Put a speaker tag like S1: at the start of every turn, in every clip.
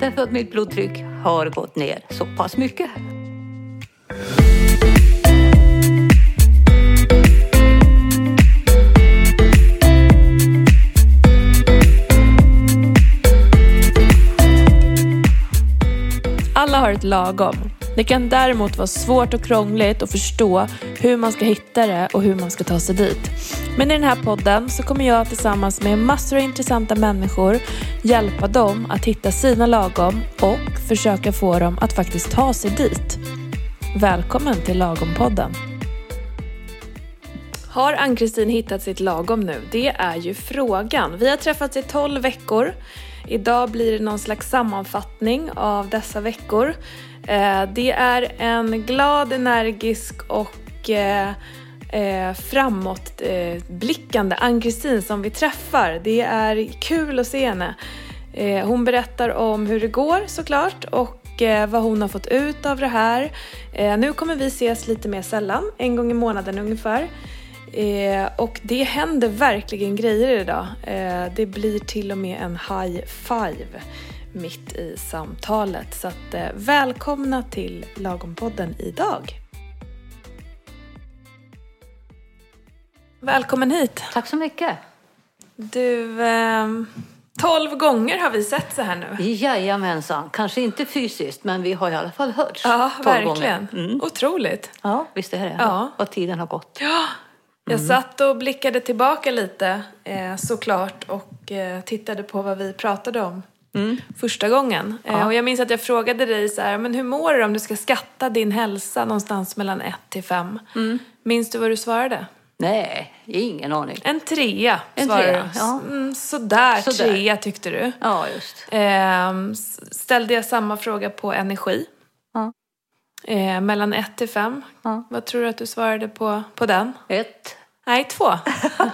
S1: Därför att mitt blodtryck har gått ner så pass mycket.
S2: Alla har ett lagom. Det kan däremot vara svårt och krångligt att förstå hur man ska hitta det och hur man ska ta sig dit. Men i den här podden så kommer jag tillsammans med massor av intressanta människor hjälpa dem att hitta sina lagom och försöka få dem att faktiskt ta sig dit. Välkommen till Lagom-podden. Har Ann-Kristin hittat sitt lagom nu? Det är ju frågan. Vi har träffats i 12 veckor. Idag blir det någon slags sammanfattning av dessa veckor. Eh, Det är en glad, energisk och eh, eh, framåtblickande Ann-Kristin som vi träffar. Det är kul att se henne. Eh, Hon berättar om hur det går såklart och eh, vad hon har fått ut av det här. Eh, Nu kommer vi ses lite mer sällan, en gång i månaden ungefär. Eh, och det händer verkligen grejer idag. Eh, det blir till och med en high five mitt i samtalet. Så att, eh, välkomna till Lagompodden idag. Välkommen hit.
S1: Tack så mycket.
S2: Du, ehm, 12 gånger har vi sett så här nu.
S1: Jajamensan. Kanske inte fysiskt, men vi har i alla fall hörts.
S2: Ja,
S1: tolv gånger.
S2: verkligen.
S1: Mm.
S2: Otroligt.
S1: Ja, visst är det.
S2: Ja.
S1: Och tiden har gått.
S2: Ja, jag
S1: Mm.
S2: satt och blickade tillbaka lite eh, såklart och eh, tittade på vad vi pratade om
S1: Mm.
S2: första gången. Eh, och jag minns att jag frågade dig så här, men hur mår du om du ska skatta din hälsa någonstans mellan 1 till 5?
S1: Mm.
S2: Minns du vad du svarade?
S1: Nej, ingen aning.
S2: En trea
S1: En
S2: svarade
S1: trea,
S2: du.
S1: ja.
S2: Mm, sådär,
S1: Sådär.
S2: trea tyckte du.
S1: Ja, just.
S2: Ehm, s- ställde jag samma fråga på energi.
S1: Ja.
S2: Eh, mellan 1 till 5.
S1: Ja.
S2: Vad tror du att du svarade på, på den?
S1: Ett.
S2: Nej, två.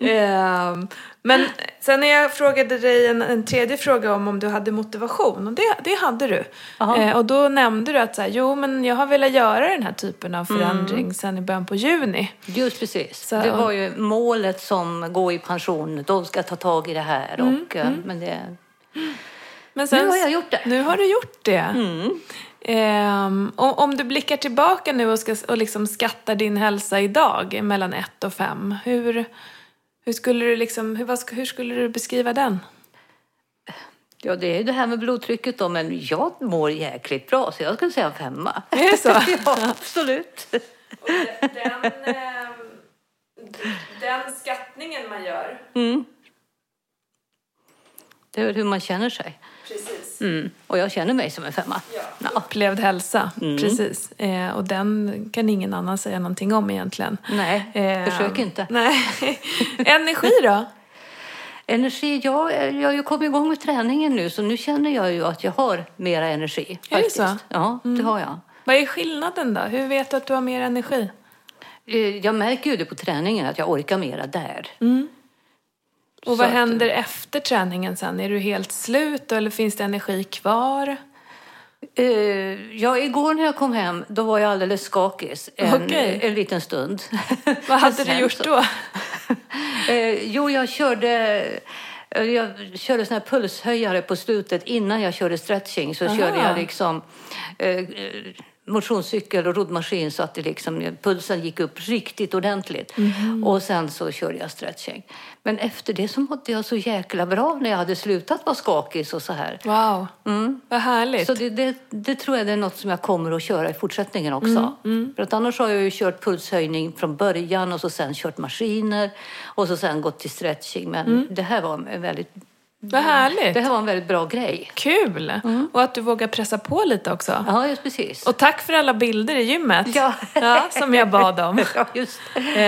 S2: Ehm, men sen när jag frågade dig en, en tredje fråga om om du hade motivation, och det, det hade du.
S1: Jaha.
S2: Eh, och då nämnde du att så här, jo, men jag har velat göra den här typen av förändring
S1: Mm.
S2: sen i början på juni.
S1: Just precis.
S2: Så-
S1: det var ju målet som går i pension. De ska ta tag i det här. Och, eh, Men det,
S2: Men
S1: Nu har jag gjort det. Mm.
S2: Nu har du gjort det. Ehm, och om du blickar tillbaka nu och, ska, och liksom skattar din hälsa idag mellan 1 och 5, hur, hur, skulle du liksom, hur, vad, sk- hur skulle du beskriva den?
S1: ja, det är ju det här med blodtrycket då, men jag mår jäkligt bra så jag skulle säga en femma.
S2: Är det så?
S1: ja, absolut.
S2: Den, ehm, den skattningen man gör,
S1: Det är väl hur man känner sig.
S2: precis.
S1: Mm. Och jag känner mig som en femma.
S2: Upplevd hälsa,
S1: Mm.
S2: precis. Eh, och den kan ingen annan säga någonting om egentligen.
S1: Nej,
S2: Ehm,
S1: försök inte.
S2: Nej. Energi då?
S1: Energi, ja, jag har ju kommit igång med träningen nu så nu känner jag ju att jag har mera energi.
S2: Är det
S1: faktiskt.
S2: så? Mm.
S1: Ja, det har jag.
S2: Vad är skillnaden då? Hur vet du att du har mer energi?
S1: Eh, Jag märker ju det på träningen att jag orkar mera där.
S2: Mm. Och vad
S1: Så att-
S2: händer efter träningen sen? Är du helt slut eller finns det energi kvar?
S1: Eh, ja, igår när jag kom hem då var jag alldeles skakis en,
S2: Okej.
S1: en liten stund.
S2: Vad
S1: Men
S2: hade du
S1: sen
S2: gjort
S1: så-
S2: då?
S1: Eh, jo, jag körde, eh, jag körde såna här pulshöjare på slutet. Innan jag körde stretching så
S2: Aha.
S1: körde jag liksom eh, eh, motionscykel och roddmaskin så att det liksom, pulsen gick upp riktigt ordentligt. Och sen så körde jag stretching. Men efter det så mådde jag så jäkla bra när jag hade slutat vara skakig och så här.
S2: Wow, vad härligt.
S1: Mm. Så det, det, det tror jag det är något som jag kommer att köra i fortsättningen också. För att annars har jag ju kört pulshöjning från början och så sen kört maskiner och så sen gått till stretching. Men det, här var en väldigt,
S2: vad härligt.
S1: det Mm. här var en väldigt bra grej.
S2: Kul! Och att du vågar pressa på lite också.
S1: Ja, just precis.
S2: Och tack för alla bilder i gymmet
S1: Ja.
S2: Ja, som jag bad om.
S1: Ja, just.
S2: Eh,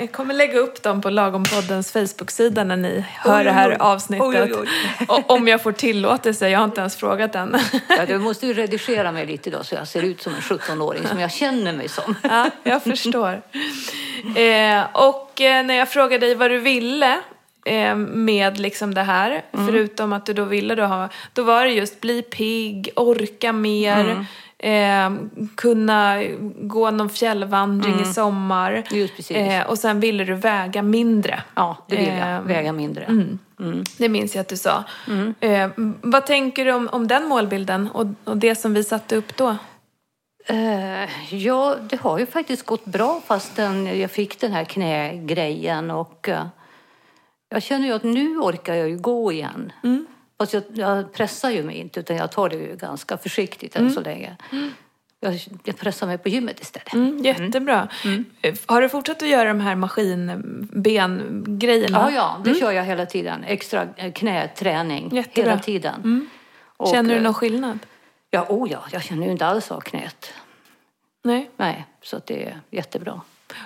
S2: jag kommer lägga upp dem på Lagompoddens Facebook-sida när ni hör det här
S1: oj.
S2: avsnittet.
S1: Oj, oj,
S2: Och om jag får tillåtelse, jag har inte ens frågat än.
S1: Ja, du måste ju redigera mig lite då så jag ser ut som en 17-åring som jag känner mig som.
S2: Ja, jag förstår. Eh, och eh, när jag frågade dig vad du ville eh, med liksom det här,
S1: Mm.
S2: förutom att du då ville då ha, då var det just bli pigg, orka mer,
S1: Mm.
S2: eh, kunna gå någon fjällvandring i sommar.
S1: Mm. Just precis.
S2: Eh, och sen ville du väga mindre.
S1: Ja, det vill jag.
S2: Eh,
S1: Väga mindre.
S2: Det minns jag att du sa.
S1: Mm.
S2: Eh, vad tänker du om, om den målbilden och, och det som vi satte upp då?
S1: Eh, ja, det har ju faktiskt gått bra fastän jag fick den här knägrejen och eh, jag känner ju att nu orkar jag ju gå igen.
S2: Mm.
S1: Fast jag, jag pressar ju mig inte utan jag tar det ju ganska försiktigt
S2: Mm.
S1: än så länge. Jag, jag pressar mig på gymmet istället.
S2: Mm, jättebra.
S1: Mm.
S2: Eh, Har du fortsatt att göra de här maskinbengrejerna?
S1: Ja, ja, det kör jag hela tiden. Extra eh, knäträning
S2: Mm. Jättebra. Mm.
S1: hela tiden. Och,
S2: Känner du
S1: eh,
S2: någon skillnad?
S1: Ja, oh ja, jag känner ju inte alls av knät.
S2: Nej.
S1: Nej, så att det är jättebra.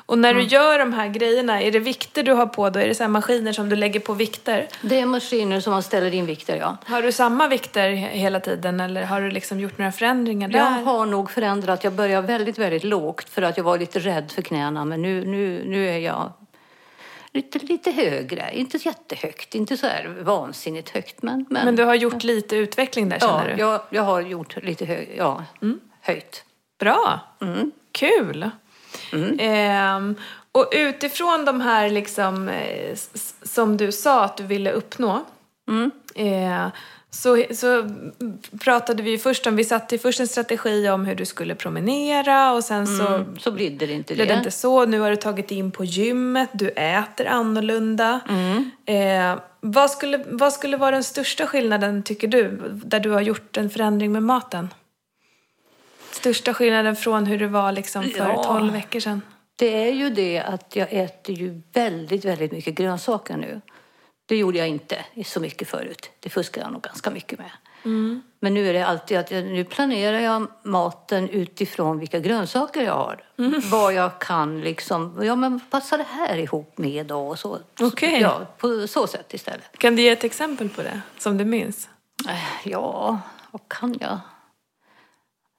S2: Och när
S1: Mm.
S2: du gör de här grejerna, är det vikter du har på då? Är det så här maskiner som du lägger på vikter?
S1: Det är maskiner som man ställer in vikter, ja.
S2: Har du samma vikter he- hela tiden eller har du liksom gjort några förändringar där?
S1: Jag har nog förändrat. Jag började väldigt, väldigt lågt för att jag var lite rädd för knäna. Men nu, nu, nu är jag lite, lite högre. Inte så jättehögt, inte så här vansinnigt högt. Men, men,
S2: Men du har gjort lite utveckling där
S1: ja,
S2: känner du? Mm.
S1: jag, jag har gjort lite hög, ja, höjt.
S2: Bra! Kul! Ehm, och utifrån de här liksom, eh, s- s- som du sa att du ville uppnå eh, så, så pratade vi ju först om, vi satte ju först en strategi om hur du skulle promenera och sen så
S1: Så blir det inte det.
S2: blev det inte så. Nu har du tagit in på gymmet, du äter annorlunda.
S1: Mm.
S2: Eh, vad, skulle, vad skulle vara den största skillnaden, tycker du, där du har gjort en förändring med maten? Största skillnaden från hur det var liksom för
S1: Ja.
S2: 12 veckor sedan?
S1: Det är ju det att jag äter ju väldigt, väldigt mycket grönsaker nu. Det gjorde jag inte så mycket förut. Det fuskade jag nog ganska mycket med. Men nu är det alltid att jag, nu planerar jag maten utifrån vilka grönsaker jag har. Vad jag kan liksom, ja men passar det här ihop med då och så.
S2: Okej.
S1: Ja, på så sätt istället.
S2: Kan du ge ett exempel på det, som du minns?
S1: Eh, Ja, vad kan jag?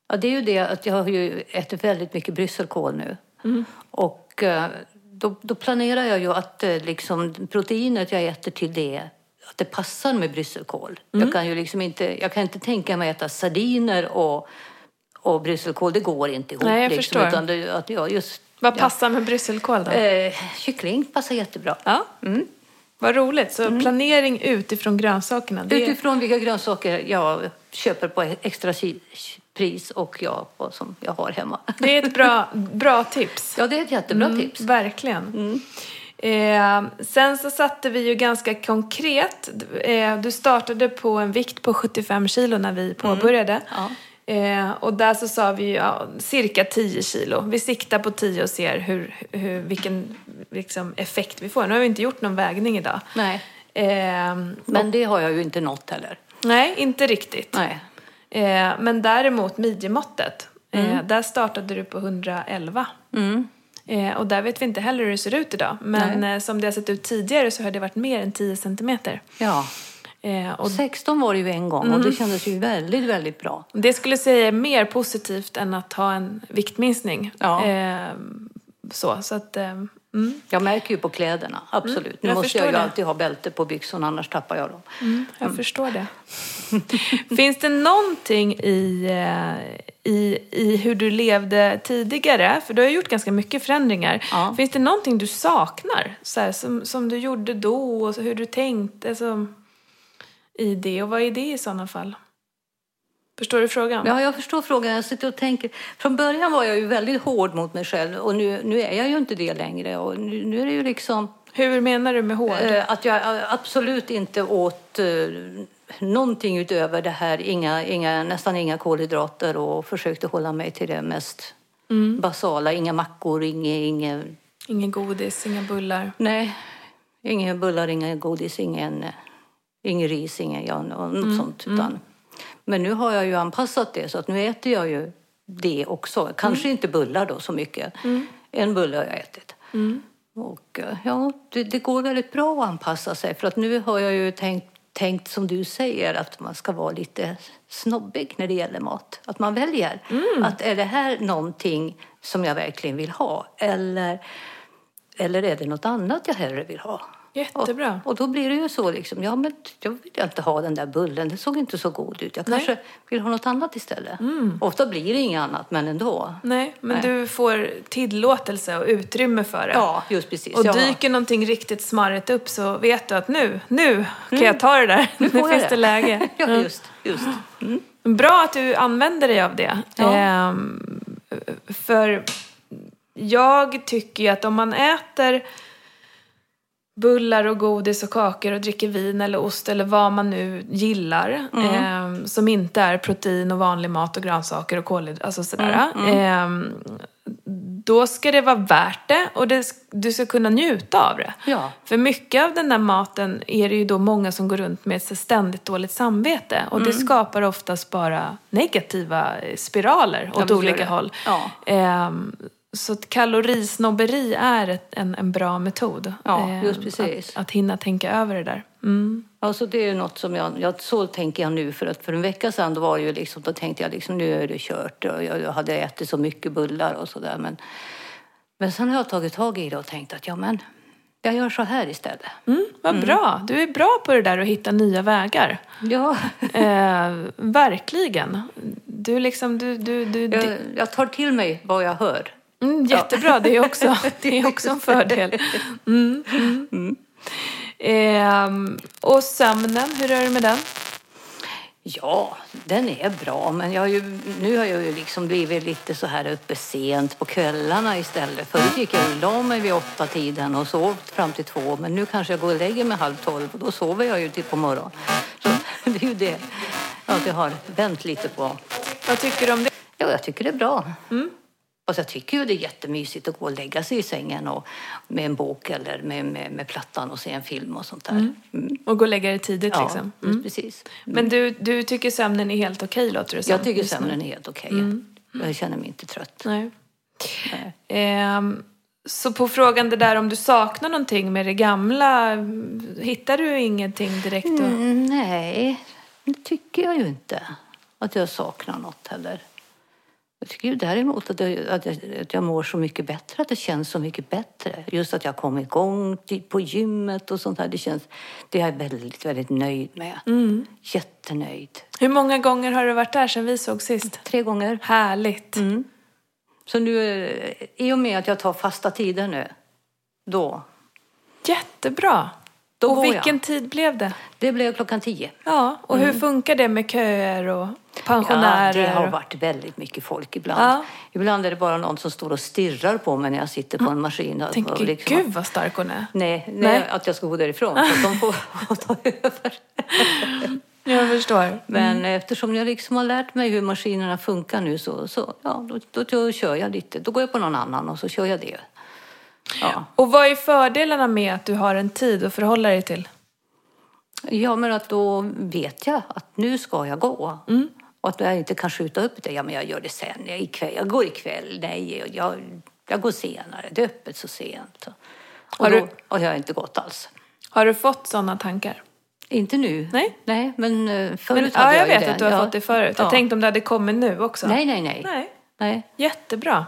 S1: Ja, det är ju det att jag har ju ätit väldigt mycket brysselkål nu.
S2: Mm.
S1: Och eh, då, då planerar jag ju att eh, liksom, proteinet jag äter till det att det passar med brysselkål.
S2: Mm.
S1: Jag kan ju liksom inte, jag kan inte tänka mig att äta sardiner och, och brysselkål. Det går inte ihop.
S2: Nej, jag
S1: liksom,
S2: förstår.
S1: Utan det, att jag just,
S2: Vad
S1: ja.
S2: passar med brysselkål då?
S1: Eh, kyckling passar jättebra.
S2: Ja. Vad roligt. Så planering utifrån grönsakerna. Det är
S1: Mm. Utifrån vilka grönsaker jag köper på extra si- pris och jag, och som jag har hemma. Mm.
S2: Det är ett bra, bra tips.
S1: Ja, det är ett jättebra tips.
S2: Mm,
S1: Mm.
S2: Verkligen. Eh, sen så satte vi ju ganska konkret. Eh, du startade på en vikt på 75 kilo när vi påbörjade.
S1: Mm. Ja.
S2: Eh, och där så sa vi ju ja, cirka 10 kilo. Vi siktar på 10 och ser hur, hur, vilken liksom, effekt vi får. Nu har vi inte gjort någon vägning idag.
S1: Nej,
S2: Eh,
S1: men det har jag ju inte nått heller.
S2: nej, inte riktigt.
S1: Nej.
S2: Eh, men däremot midjemåttet. Eh, där startade du på 111. Eh, och där vet vi inte heller hur det ser ut idag. Men eh, som det har sett ut tidigare så har det varit mer än 10 centimeter.
S1: Ja.
S2: Eh, och
S1: 16 var det ju en gång och det kändes ju väldigt, väldigt bra.
S2: det skulle jag säga är mer positivt än att ha en viktminskning.
S1: Ja.
S2: Eh, så, så att... Eh, mm,
S1: Jag märker ju på kläderna, absolut. nu måste Mm. jag
S2: jag
S1: Mm. ju
S2: förstår det.
S1: alltid ha bälte på byxorna, annars tappar jag dem.
S2: jag förstår det. Finns det någonting i, eh, i, i hur du levde tidigare? För du har ju gjort ganska mycket förändringar.
S1: Ja.
S2: Finns det någonting du saknar? Så här, som, som du gjorde då och hur du tänkte som, i det? Och vad är det i sådana fall? Förstår du frågan?
S1: Ja, jag förstår frågan. Jag sitter och tänker. Från början var jag ju väldigt hård mot mig själv och nu, nu är jag ju inte det längre. Och nu, nu är det ju liksom...
S2: Hur menar du med hård?
S1: Eh, Att jag eh, absolut inte åt eh, någonting utöver det här. Inga, inga, nästan inga kolhydrater och försökte hålla mig till det mest basala. Inga mackor, inga, inga,
S2: Ingen godis, inga bullar.
S1: nej, inga bullar, inga godis, ingen, eh, ingen ris, ingen, ja, något sånt. Utan, men nu har jag ju anpassat det så att nu äter jag ju det också. Kanske inte bullar då så mycket. En bulle har jag ätit. Och eh, ja, det, det går väldigt bra att anpassa sig. För att nu har jag ju tänkt, tänkt som du säger att man ska vara lite snobbig när det gäller mat. Att man väljer. Att är det här någonting som jag verkligen vill ha? Eller, eller är det något annat jag hellre vill ha?
S2: Jättebra.
S1: Och, och då blir det ju så liksom, ja men jag vill inte ha den där bullen, den såg inte så god ut. Jag
S2: Nej. Mm.
S1: kanske vill ha något annat istället. Ofta blir det inget annat, men ändå.
S2: Nej, men
S1: Nej.
S2: du får tillåtelse och utrymme för det.
S1: Ja, just precis.
S2: Och
S1: ja.
S2: dyker någonting riktigt smarrigt upp så vet du att nu, nu kan jag ta det där. Nu,
S1: Mm. får jag
S2: finns det
S1: det.
S2: läge.
S1: ja, just, just.
S2: Bra att du använder dig av det.
S1: Ja.
S2: Ehm, för jag tycker ju att om man äter bullar och godis och kakor och dricker vin eller ost eller vad man nu gillar
S1: Mm.
S2: ehm, som inte är protein och vanlig mat och grönsaker och kolhyd- alltså sådär.
S1: Mm,
S2: ehm, då ska det vara värt det och det, sk- du ska kunna njuta av det.
S1: Ja.
S2: För mycket av den där maten är det ju då många som går runt med ett ständigt dåligt samvete. Och
S1: Mm.
S2: det skapar oftast bara negativa eh, spiraler
S1: Ja,
S2: åt
S1: det gör
S2: olika
S1: det.
S2: håll.
S1: Ja.
S2: Ehm, så att kalorisnobberi är ett, en, en bra metod.
S1: Ja,
S2: Ehm,
S1: just precis.
S2: Att, att hinna tänka över det där. Mm.
S1: Alltså det är ju något som jag, jag, så tänker jag nu för att för en vecka sedan då var det ju liksom, då tänkte jag liksom nu är det kört och jag, jag hade ätit så mycket bullar och sådär men, men sen har jag tagit tag i det och tänkt att ja men jag gör så här istället.
S2: Mm, vad bra! Du är bra på det där att hitta nya vägar.
S1: Ja,
S2: Ehm, verkligen. Du liksom, du, du, du,
S1: jag, jag tar till mig vad jag hör.
S2: Mm, jättebra, det, är också, det är också en fördel. Mm, mm. Ehm, och sömnen, hur är det med den?
S1: Ja, den är bra, men jag har ju, nu har jag ju liksom blivit lite så här uppe sent på kvällarna istället. Förut gick jag och la mig vid åtta tiden och sov fram till två, men nu kanske jag går och lägger mig halv tolv och då sover jag ju till på morgonen. Så det är ju det, att jag har vänt lite på.
S2: Vad tycker du om det?
S1: Ja, jag tycker det är bra. Och jag tycker ju det är jättemysigt att gå och lägga sig i sängen och, med en bok eller med, med, med plattan och se en film och sånt där. Mm.
S2: Och gå och lägga dig tidigt
S1: Ja,
S2: liksom?
S1: just precis.
S2: Men du, du tycker sömnen är helt okej låter det Mm. som.
S1: Jag tycker
S2: just nu.
S1: sömnen är helt okej. Jag känner mig inte trött.
S2: Nej. Ehm, så på frågan det där om du saknar någonting med det gamla, hittar du ingenting direkt? och-
S1: Mm, nej, det tycker jag ju inte. Att jag saknar något heller. Jag tycker ju däremot att jag, att, jag, att jag mår så mycket bättre, att det känns så mycket bättre. Just att jag kom igång typ på gymmet och sånt där. Det, känns, det är jag väldigt, väldigt nöjd med.
S2: Mm.
S1: Jättenöjd.
S2: Hur många gånger har du varit där sedan vi såg sist?
S1: Tre gånger.
S2: Härligt!
S1: Mm. Så nu, eh, i och med att jag tar fasta tider nu, då.
S2: Jättebra!
S1: Då
S2: och
S1: går jag.
S2: vilken tid blev det?
S1: Det blev klockan tio.
S2: Ja, och hur funkar det med köer och
S1: Mm. Ja,
S2: pensionärer?
S1: det har
S2: och-
S1: varit väldigt mycket folk ibland.
S2: Ja.
S1: Ibland är det bara någon som står och stirrar på mig när jag sitter på en maskin. och-
S2: Mm. Tänker,
S1: och liksom-
S2: gud vad stark hon är.
S1: Nej, nej,
S2: Nej.
S1: att jag ska gå därifrån. Så att de får får ta över.
S2: Jag förstår.
S1: Men eftersom jag liksom har lärt mig hur maskinerna funkar nu så, så ja, då, då, då kör jag lite. Då går jag på någon annan och så kör jag det. Ja,
S2: Och vad är fördelarna med att du har en tid att förhålla dig till?
S1: ja men att då vet jag att nu ska jag gå.
S2: Mm.
S1: Och att jag inte kan skjuta upp det. Ja, men jag gör det sen. Jag, ikväll, jag går ikväll. Nej, jag- jag, jag går senare. Det är öppet så sent. Och
S2: Har
S1: då,
S2: du-
S1: och jag har inte gått alls.
S2: Har du fått sådana tankar?
S1: Inte nu.
S2: Nej.
S1: Nej, men eh, förut
S2: Men, ja,
S1: hade
S2: jag
S1: jag ju
S2: vet
S1: det.
S2: att du har
S1: Ja.
S2: fått det förut. Jag
S1: Ja.
S2: tänkte om det hade kommit nu också.
S1: Nej, nej, nej.
S2: Nej.
S1: Nej.
S2: Jättebra.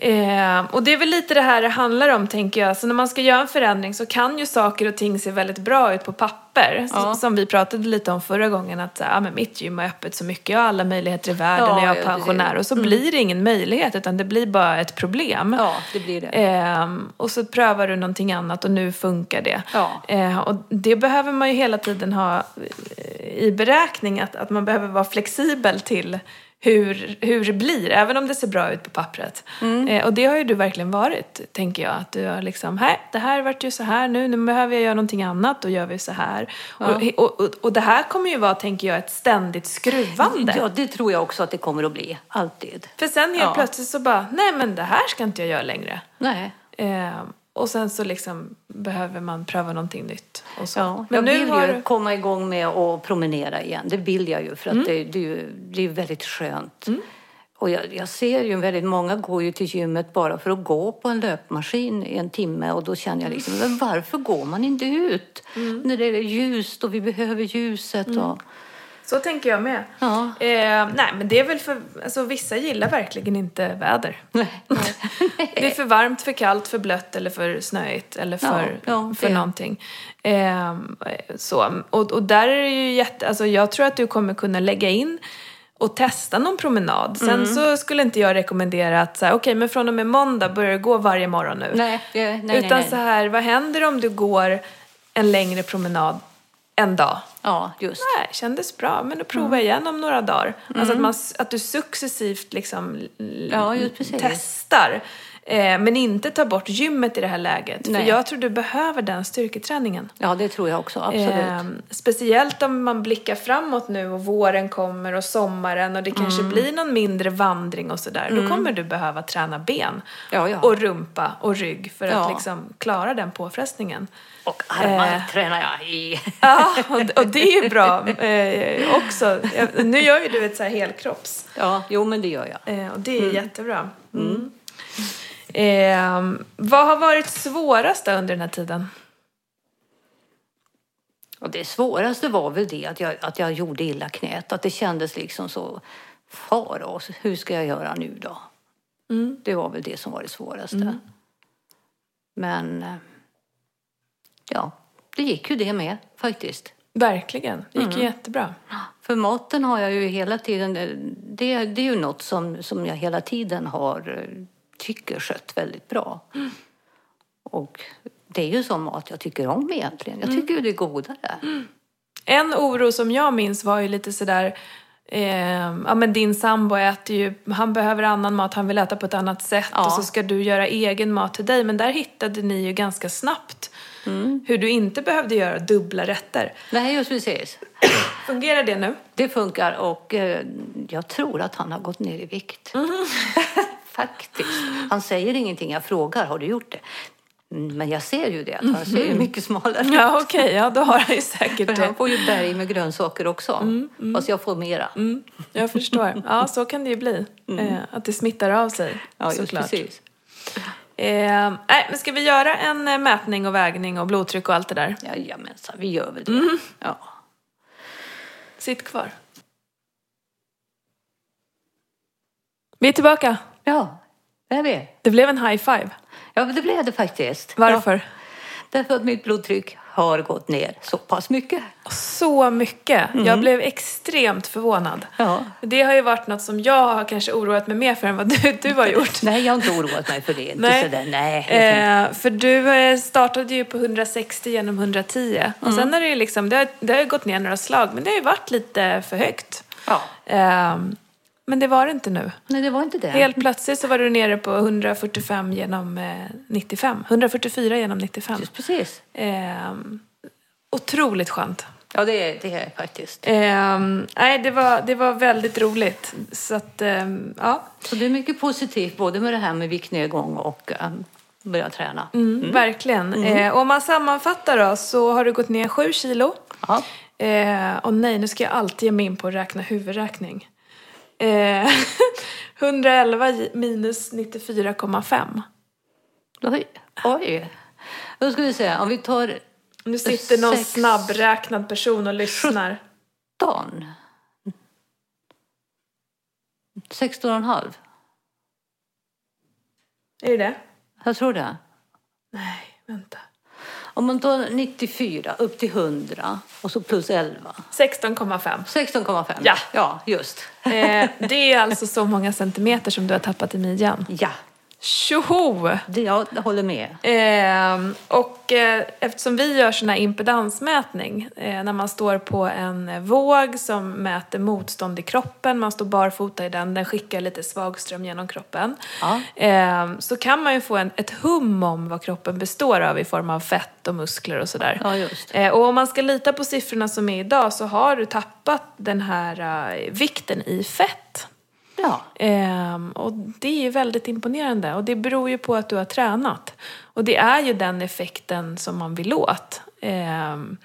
S2: Eh, och det är väl lite det här det handlar om, tänker jag. Så när man ska göra en förändring så kan ju saker och ting se väldigt bra ut på papper. S-
S1: Ja.
S2: Som vi pratade lite om förra gången, att så här, ah, men mitt gym är öppet så mycket, jag har alla möjligheter i världen,
S1: Ja,
S2: jag är
S1: ja, Mm.
S2: pensionär. Och så blir det ingen möjlighet, utan det blir bara ett problem.
S1: Ja, det blir det.
S2: Ehm, och så prövar du någonting annat och nu funkar det.
S1: Ja.
S2: Eh, och det behöver man ju hela tiden ha eh, i beräkning, att, att man behöver vara flexibel till hur, hur det blir, även om det ser bra ut på pappret.
S1: Mm.
S2: Eh, och det har ju du verkligen varit, tänker jag. Att du har liksom, här, det här vart ju så här nu, nu behöver jag göra någonting annat, då gör vi så här. Och, och, och, och det här kommer ju vara, tänker jag, ett ständigt skruvande.
S1: Ja, det tror jag också att det kommer att bli. Alltid.
S2: För sen helt
S1: Ja.
S2: plötsligt så bara, nej men det här ska inte jag göra längre.
S1: Nej.
S2: Eh, och sen så liksom behöver man pröva någonting nytt. Och så.
S1: Ja,
S2: men
S1: jag
S2: nu
S1: vill
S2: har
S1: ju
S2: du...
S1: komma igång med att promenera igen. Det vill jag ju för att
S2: Mm.
S1: det, det, är ju- det är väldigt skönt. Och jag, jag ser ju väldigt många går ju till gymmet bara för att gå på en löpmaskin i en timme och då känner jag liksom, men
S2: Mm.
S1: varför går man inte ut? När det är ljust och vi behöver ljuset och...
S2: Så tänker jag med.
S1: Ja.
S2: Eh, nej, men det är väl för... Alltså, vissa gillar verkligen inte väder.
S1: Nej.
S2: Det är för varmt, för kallt, för blött eller för snöigt eller för,
S1: Ja, ja,
S2: för
S1: det.
S2: någonting. Ehm, så. Och, och där är det ju jätte... Alltså jag tror att du kommer kunna lägga in och testa någon promenad.
S1: Mm.
S2: Sen så skulle inte jag rekommendera att så här, okej men från och med måndag börjar du gå varje morgon nu.
S1: Nej, det- nej, nej,
S2: Utan
S1: nej.
S2: så här, vad händer om du går en längre promenad en dag?
S1: Ja, just.
S2: Nej, Äh, kändes bra, men då provar jag igen om några dagar. Alltså att, man, att du successivt liksom l-
S1: Mm. Ja, just precis.
S2: testar. Eh, men inte ta bort gymmet i det här läget. För
S1: Nej.
S2: jag tror du behöver den styrketräningen.
S1: Ja, det tror jag också. Absolut.
S2: Eh, speciellt om man blickar framåt nu och våren kommer och sommaren och det kanske
S1: Mm.
S2: blir någon mindre vandring och sådär. Då kommer du behöva träna ben
S1: Ja, ja.
S2: och rumpa och rygg för att
S1: Ja.
S2: liksom klara den påfrestningen.
S1: Och armarna
S2: Eh.
S1: tränar jag i.
S2: Ja, och, och det är ju bra eh, också. Jag- Nu gör ju du ett så här helkropps.
S1: Ja, jo, men det gör jag.
S2: Eh, och det är jättebra. Mm. Eh, vad har varit svårast då under den här tiden?
S1: Och det svåraste var väl det att jag, att jag gjorde illa knät. Att det kändes liksom så faros. Hur ska jag göra nu då? Det var väl det som var det svåraste. Men eh, ja, det gick ju det med faktiskt.
S2: Verkligen, Mm. det gick ju jättebra.
S1: För maten har jag ju hela tiden... eh, Det, det är ju något som, som jag hela tiden har eh, tycker skött väldigt bra. Och det är ju sån mat jag tycker om egentligen. Jag tycker ju det är godare.
S2: En oro som jag minns var ju lite sådär Eh, ja men din sambo äter ju, han behöver annan mat, han vill äta på ett annat sätt
S1: Ja.
S2: och så ska du göra egen mat till dig. Men där hittade ni ju ganska snabbt hur du inte behövde göra dubbla rätter.
S1: Nej, just precis.
S2: Fungerar det nu?
S1: Det funkar och eh, jag tror att han har gått ner i vikt.
S2: Mm.
S1: Faktiskt. Han säger ingenting. Jag frågar, har du gjort det? Mm, Men jag ser ju det, att han ser ju mycket smalare ut.
S2: Mm. Ja okej, ja då har han ju säkert
S1: För
S2: det.
S1: han får ju berg med grönsaker också. Fast jag får mera.
S2: Mm, jag förstår. Ja, så kan det ju bli. Eh, att det smittar av sig,
S1: Mm. Ja, just
S2: såklart.
S1: precis.
S2: Eh, nej, men ska vi göra en eh, mätning och vägning och blodtryck och allt det där?
S1: Jajamensan, vi gör väl det.
S2: Mm.
S1: Ja.
S2: Sitt kvar. Vi är tillbaka.
S1: ja, det är vi.
S2: Det blev en high five.
S1: Ja, men det blev det faktiskt.
S2: Varför?
S1: Ja, därför att mitt blodtryck har gått ner så pass mycket.
S2: Så mycket. Jag blev extremt förvånad.
S1: Mm. Ja.
S2: Det har ju varit något som jag har kanske oroat mig mer för än vad du, du har gjort.
S1: Nej, jag har inte oroat mig för det. Inte
S2: Nej.
S1: Sådär, nej.
S2: Eh, för du eh, startade ju på 160 genom 110 och
S1: Mm.
S2: sen har det ju liksom, det har, det har ju gått ner några slag men det har ju varit lite för högt.
S1: Ja.
S2: Eh, men det var det inte nu.
S1: Nej, det var inte det.
S2: Helt plötsligt så var du nere på 145 genom eh, 95, 144 genom 95.
S1: Just precis.
S2: Eh, otroligt skönt.
S1: Ja, det är det är faktiskt.
S2: Eh, nej, det var, det var väldigt roligt. Så att, eh, ja,
S1: Så det är mycket positivt, både med det här med viktnedgång och um, börja träna.
S2: Mm, Verkligen. Eh, och om man sammanfattar då så har du gått ner 7 kilo.
S1: Ja.
S2: Eh, och nej, nu ska jag alltid ge mig in på att räkna huvudräkning. Eh, 111 gi- minus 94,5.
S1: Oj. Oj. Då ska vi se, om vi tar
S2: Nu sitter någon
S1: Sex.
S2: snabbräknad person och lyssnar.
S1: Dan. 16,5.
S2: Är det det?
S1: Jag tror det.
S2: Nej, vänta.
S1: Om man tar 94 upp till 100 och så plus 11.
S2: 16,5.
S1: 16,5.
S2: Ja.
S1: ja, just.
S2: Eh, det är alltså så många centimeter som du har tappat i midjan.
S1: Ja,
S2: Tjoho!
S1: det, jag håller med.
S2: Ehm, och eh, eftersom vi gör sån här impedansmätning eh, när man står på en eh, våg som mäter motstånd i kroppen, man står barfota i den, den skickar lite svag ström genom kroppen.
S1: Ja.
S2: Ehm, så kan man ju få en, ett hum om vad kroppen består av i form av fett och muskler och sådär.
S1: Ja, just.
S2: Eh, och om man ska lita på siffrorna som är idag så har du tappat den här eh, vikten i fett.
S1: Ja,
S2: Ehm, och det är ju väldigt imponerande och det beror ju på att du har tränat. Och det är ju den effekten som man vill åt. Ehm,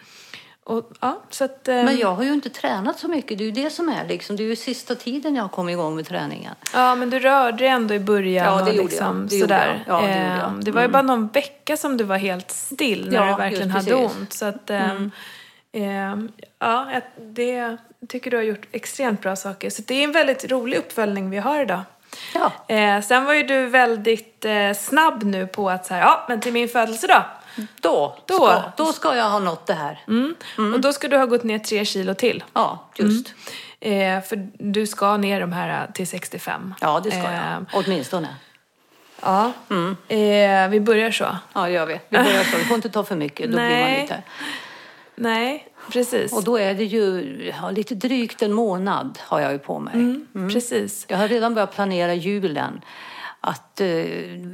S2: och, ja, så att, ehm,
S1: men jag har ju inte tränat så mycket. Det är ju det som är liksom. Det är ju sista tiden jag kom igång med träningen.
S2: ja, men du rörde dig ändå i början.
S1: Ja, det
S2: och
S1: gjorde
S2: liksom,
S1: jag. Det gjorde
S2: sådär.
S1: jag. Ja, det gjorde jag. Mm.
S2: Ehm, det var ju bara någon vecka som du var helt still när
S1: Ja,
S2: du verkligen
S1: just
S2: hade
S1: precis. Mm.
S2: ont. Så att, ehm, Eh, ja, jag- det tycker du har gjort extremt bra saker. Så det är en väldigt rolig uppföljning vi har idag.
S1: Ja.
S2: Eh, sen var ju du väldigt eh, snabb nu på att så här, ja, men till min födelsedag.
S1: Då,
S2: Då.
S1: Ska, då ska jag ha nått det här.
S2: Mm. Och då ska du ha gått ner tre kilo till.
S1: Ja, just.
S2: Eh, för du ska ner de här eh, till 65.
S1: Ja, det ska
S2: Eh,
S1: jag. Åtminstone.
S2: Ja, eh, vi börjar så.
S1: Ja, gör vi. Vi börjar så. Du får inte ta för mycket, då blir man
S2: Nej.
S1: lite...
S2: Nej, precis.
S1: Och då är det ju ja, lite drygt en månad har jag ju på mig.
S2: Mm. Precis.
S1: Jag har redan börjat planera julen. Att eh,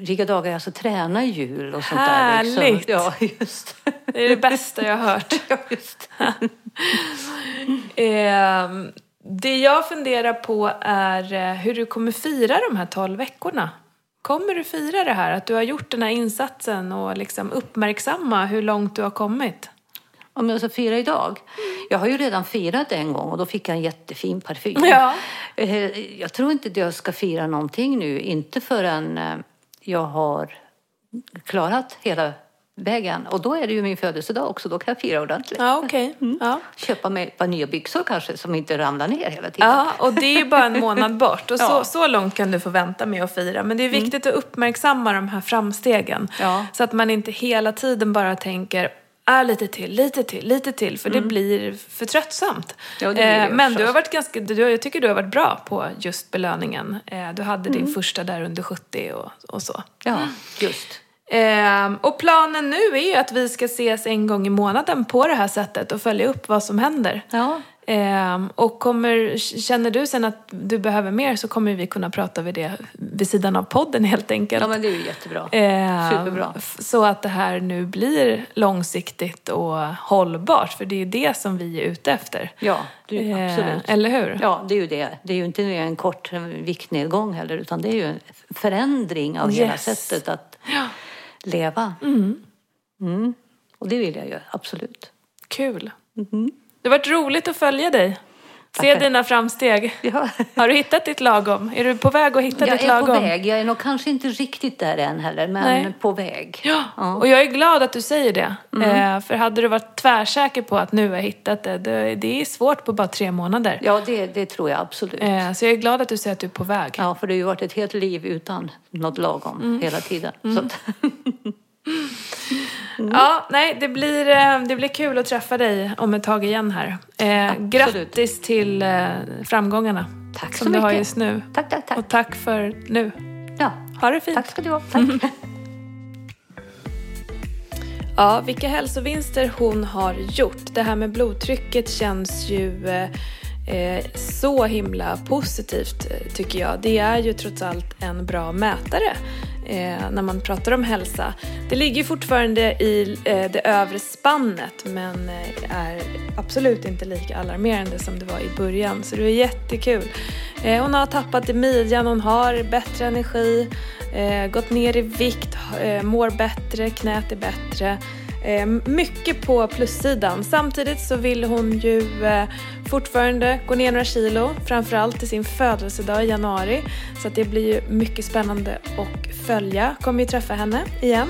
S1: rigga dagar, alltså träna i jul och sånt där.
S2: Härligt.
S1: Liksom. Ja, just
S2: Det är det bästa jag har hört.
S1: Ja, just
S2: Eh, det jag funderar på är eh, hur du kommer fira de här tolv veckorna. Kommer du fira det här? Att du har gjort den här insatsen och liksom uppmärksamma hur långt du har kommit?
S1: Om jag ska fira idag? Jag har ju redan firat en gång och då fick jag en jättefin parfym.
S2: Ja.
S1: Eh, Jag tror inte att jag ska fira någonting nu. Inte förrän eh, jag har klarat hela vägen. Och då är det ju min födelsedag också. Då kan jag fira ordentligt.
S2: Ja, okej. Ja.
S1: Köpa mig ett par nya byxor kanske som inte ramlar ner hela tiden.
S2: ja, och det är ju bara en månad bort. Och så,
S1: Ja. Mm.
S2: så långt kan du få vänta med att fira. Men det är viktigt att uppmärksamma de här framstegen.
S1: Ja.
S2: Så att man inte hela tiden bara tänker är lite till, lite till, lite till, för det blir för tröttsamt.
S1: Mm. Ja, det blir det
S2: Eh, men du
S1: förstås.
S2: har varit ganska, du, jag tycker du har varit bra på just belöningen. Eh, Du hade
S1: Mm.
S2: din första där under 70 och, och så.
S1: Ja, just.
S2: Ehm, och planen nu är ju att vi ska ses en gång i månaden på det här sättet och följa upp vad som händer.
S1: Ja.
S2: Ehm, och kommer, känner du sen att du behöver mer så kommer vi kunna prata vid det vid sidan av podden helt enkelt.
S1: ja, men det är ju jättebra.
S2: Ehm,
S1: superbra.
S2: f- Så att det här nu blir långsiktigt och hållbart, för det är ju det som vi är ute efter.
S1: Ja, det är ju
S2: Ehm,
S1: absolut.
S2: Eller hur?
S1: Ja, det är ju det. Det är ju inte en kort viktnedgång heller, utan det är ju en förändring av hela
S2: Yes.
S1: sättet att
S2: Ja.
S1: leva. Mm. Och det vill jag ju, absolut.
S2: Kul. Det har varit roligt att följa dig. Se
S1: Mhm. Tackar.
S2: dina framsteg.
S1: Ja.
S2: Har du hittat ditt lagom? Är du på väg att hitta
S1: Jag
S2: ditt
S1: är på
S2: lagom?
S1: väg. Jag är nog kanske inte riktigt där än heller, men
S2: Nej.
S1: på väg.
S2: Ja. och jag är glad att du säger det.
S1: Mm.
S2: Eh, för hade du varit tvärsäker på att nu har jag hittat det, det, det är svårt på bara tre månader.
S1: Ja, det, det tror jag absolut.
S2: Eh, så jag är glad att du säger att du är på väg.
S1: Ja, för det har ju varit ett helt liv utan något lagom
S2: Mm.
S1: hela tiden. Så att, Mm.
S2: Ja, nej, det blir, eh, det blir kul att träffa dig om ett tag igen här. Eh, grattis till eh, framgångarna
S1: Tack
S2: som
S1: så
S2: du har
S1: mycket.
S2: just nu.
S1: tack, tack, tack.
S2: Och tack för nu.
S1: Ja,
S2: Ha det fint.
S1: tack ska du ha. Tack.
S2: Ja, vilka hälsovinster hon har gjort. Det här med blodtrycket känns ju eh, eh, så himla positivt eh, tycker jag. Det är ju trots allt en bra mätare eh, när man pratar om hälsa. Det ligger ju fortfarande i eh, det övre spannet men eh, är absolut inte lika alarmerande som det var i början så det är jättekul. Eh, hon har tappat i midjan, hon har bättre energi, eh, gått ner i vikt, eh, mår bättre, knät är bättre. Eh, mycket på plussidan. Samtidigt så vill hon ju eh, fortfarande gå ner några kilo, framförallt till sin födelsedag i januari. Så att det blir ju mycket spännande att följa. Kommer ju träffa henne igen.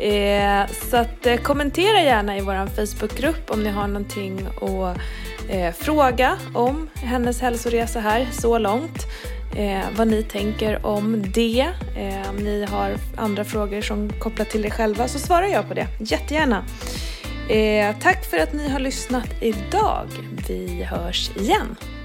S2: Eh, så att, eh, kommentera gärna i vår Facebookgrupp om ni har någonting att eh, fråga om hennes hälsoresa här så långt. Eh, vad ni tänker om det. Eh, om ni har andra frågor som kopplar till er själva så svarar jag på det. Jättegärna. Eh, tack för att ni har lyssnat idag. Vi hörs igen.